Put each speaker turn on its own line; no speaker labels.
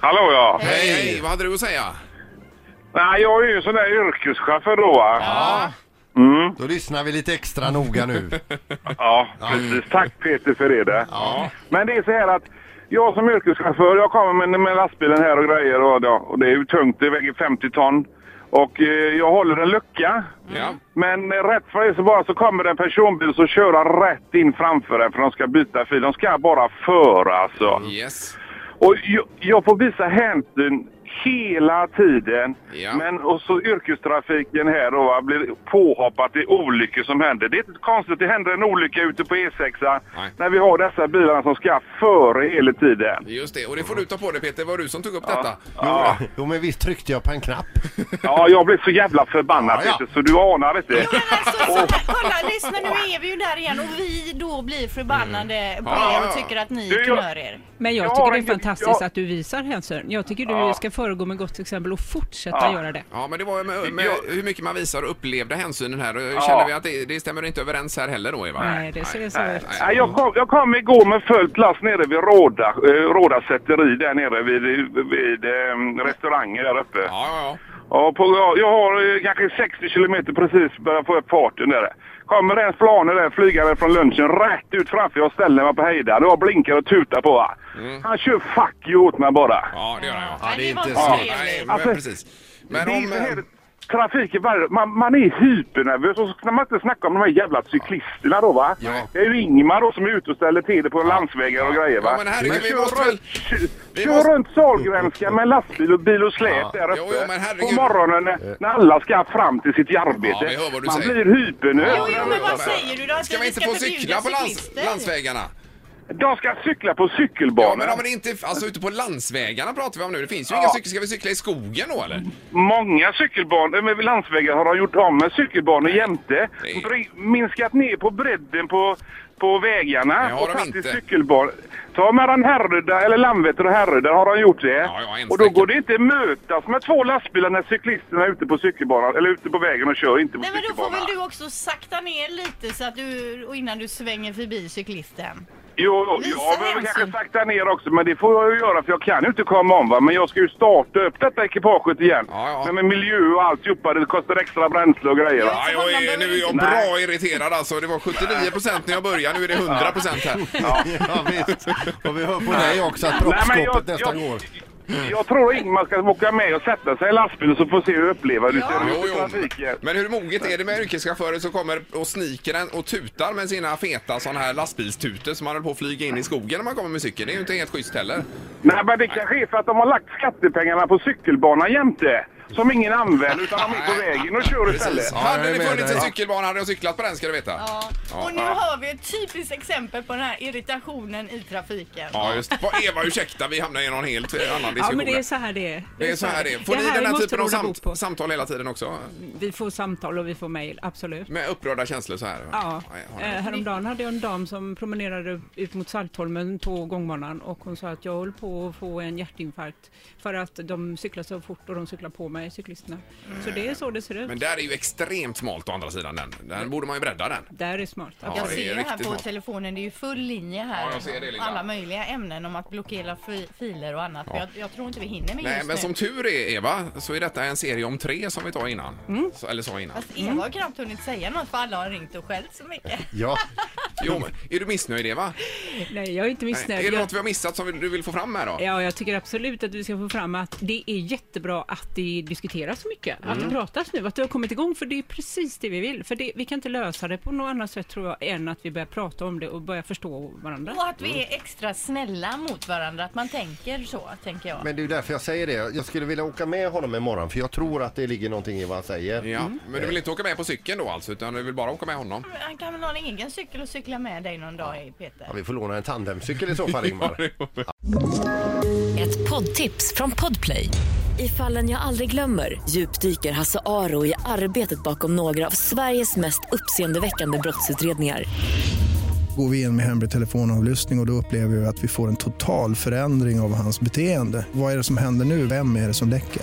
Hallå ja.
Hej, hej, vad hade du att säga?
Nej, jag är ju sån där yrkeschaufför då va.
Ja.
Då lyssnar vi lite extra noga nu.
Ja, precis. Tack Peter för det. Men det är så här att jag som yrkeschaufför, jag kommer med, med lastbilen här och grejer och, ja, och det är ju tungt, det väger 50 ton. Och eh, jag håller en lucka.
Ja.
Men eh, rätt vad det är så bara så kommer det en personbil som kör rätt in framför en för de ska byta fil. De ska bara föra alltså.
Yes.
Och jag, jag får visa hänsyn hela tiden.
Ja.
Men och så yrkestrafiken här då va, blir påhoppat i olyckor som händer. Det är inte konstigt, det händer en olycka ute på E6
Nej.
när vi har dessa bilarna som ska före hela tiden.
Just det, och det får du ta på dig Peter, var du som tog upp detta.
Ja,
Jo men visst tryckte jag på en knapp.
ja jag blir så jävla förbannad
Ja, ja.
Peter, så du anar inte.
Men alltså, så här, kolla, lyssna nu är vi ju där igen och vi då blir förbannade på
Mm. Ja,
er
ja.
och tycker att ni
Du, jag-
knör er.
Men jag
Jag
tycker
har
det är
en-
fantastiskt
jag-
att du visar hänsyn. Jag tycker du
Ja.
ska föregå med gott exempel och fortsätta
Ja.
göra det.
Ja, men det var ju med, med
Jag-
hur mycket man visar och upplevde hänsynen här. Och
Ja.
Känner vi att det, det stämmer inte överens här heller då, Eva?
Nej, det ser så ut.
Nej, jag, kom, jag kom igår med fullt lass nere vid Råda, eh, Råda säteri där nere vid, vid eh, restaurangen där uppe.
Ja, ja,
Ja, på, ja, jag har eh, kanske 60 kilometer precis börjat få upp farten där. Kommer en planer där, flygare från lunchen, rätt ut framför. Jag ställer mig på hejdan och jag blinkar och tutar på va. Han kör fuck you åt mig bara.
ja. Ja, det gör jag.
Men
det är
var
inte
så
snyggt.
trevligt.
Nej, men
Alltså,
precis. Men
det är så här,
om... eh,
trafiken varje... Man, man är hypernervös och så kan man inte snacka om de här jävla cyklisterna då va.
Ja.
Det är ju Ingmar då som är ute och ställer till det på landsvägar och grejer va.
Ja, men herregud, vi
kör
måste väl-
runt, kö-
vi
kör
måste-
runt Sahlgrenska med lastbil och bil och släp där uppe.
Jo, jo, men herregud.
på morgonen när, när alla ska fram till sitt arbete.
Ja, vi hör vad du
man
säger.
blir hypernervös.
Jo, jo, men vad säger du då? Att
Ska
vi
vi inte
ska
få
förbjuda
cykla på lands,
cyklister?
landsvägarna?
De ska cykla på
Ja,
cykelbanor.
men om det inte, alltså ute på landsvägarna pratar vi om nu. Det finns ju
Ja.
inga cyklar. Ska vi cykla i skogen då eller?
Många cykelbanor, men landsvägar har de gjort om med cykelbanor jämte.
Det-
Bre- minskat ner på bredden på, på vägarna
Det har
och
de
satt i
inte.
cykelbanor. Ta mellan Härryda, eller Landvetter och Härryda har de gjort det.
ja, hemskt
och då
säkert.
går det inte att mötas med två lastbilar när cyklisterna är ute på cykelbanan, eller ute på vägen och kör, inte på
Nej men då får
cykelbanan.
väl du också sakta ner lite så att du, och innan du svänger förbi cyklisten.
Jo, jo,
Visa
jag behöver
hänsyn.
kanske sakta ner också, men det får jag ju göra för jag kan ju inte komma om va. Men jag ska ju starta upp detta ekipaget igen.
Ja, ja.
Men med miljö och alltihopa, det kostar extra bränsle och grejer va.
Ja, jag är, nu är jag bra irriterad alltså. Det var 79 procent när jag började, nu är det 100 procent här.
Ja visst. Och vi hör på dig också att
Nej, men jag-
proppskåpet nästan
jag-
går.
Jag tror Ingmar ska åka med och sätta sig i lastbilen så får se hur uppleva det ser
Jo,
ut i
jo.
trafiken.
Men hur moget är det med yrkeschaufförer som kommer och sniker en och tutar med sina feta sådana här lastbilstutor som man höll på att flyga in i skogen när man kommer med cykeln? Det är ju inte helt schysst heller.
Nej, men det kanske är för att de har lagt skattepengarna på cykelbanan jämte. Som ingen använder utan de är på vägen och kör istället.
Ja, jag
hade
är
det
med
funnits en
dig.
cykelbana hade jag cyklat på den ska du veta.
Ja. Och nu har vi ett typiskt exempel på den här irritationen i trafiken.
Ja, just det. Vad- Eva, ursäkta, vi hamnar i någon helt annan
Ja,
diskussion.
men det är så här det är.
Det är så här det är. Får
det
ni
här
den här
måste
typen av
råda
samt,
bot på.
samtal hela tiden också?
Vi får samtal och vi får mejl, absolut.
Med upprörda känslor så här?
Ja,
har
eh,
ni-
häromdagen hade jag en dam som promenerade ut mot Saltholmen på gångbanan och hon sa att jag höll på att få en hjärtinfarkt för att de cyklar så fort och de cyklar på mig, cyklisterna. Så det är så det ser ut.
Mm. Men där är ju extremt smalt å andra sidan den.
Mm.
Den borde man ju bredda den.
Där är smart.
Ja,
Jag
det är
ser ju här
riktigt
på
smart.
telefonen, det är ju full linje här.
Ja, jag ser det, Linda.
Alla möjliga ämnen om att blockera fi- filer och annat. Jag, jag tror inte vi hinner med
Nej,
just
men
nu.
som tur är Eva så är detta en serie om tre som vi tar innan.
Mm.
Så, eller sa innan.
Fast Eva har knappt hunnit säga något för alla har ringt och skällt så mycket.
Ja.
Jo, men är du missnöjd Eva?
Nej, jag är inte
Nej. Är
missnöjd.
det
Jag,
något vi har missat som vi- du vill få fram här då?
ja, jag tycker absolut att vi ska få fram att det är jättebra att det diskuteras så mycket, att det pratas nu, att det har kommit igång, för det är precis det vi vill. För det, vi kan inte lösa det på något annat sätt tror jag, än att vi börjar prata om det och börjar förstå varandra.
Och att vi är extra snälla mot varandra, att man tänker så, tänker jag.
Men det är ju därför jag säger det. Jag skulle vilja åka med honom imorgon för jag tror att det ligger någonting i vad han säger.
Ja, men du vill inte åka med på cykeln då alltså, utan du vill bara åka med honom?
Han kan väl ha en egen cykel och cykla med dig någon dag, Peter?
Ja, vi får låna en tandemcykel i så fall Ingmar.
Ett poddtips från Podplay. I fallen jag aldrig glömmer djupdyker Hasse Aro i arbetet bakom några av Sveriges mest uppseendeväckande brottsutredningar.
Går vi in med hemlig telefonavlyssning och, och då upplever vi att vi får en total förändring av hans beteende. Vad är det som händer nu? Vem är det som läcker?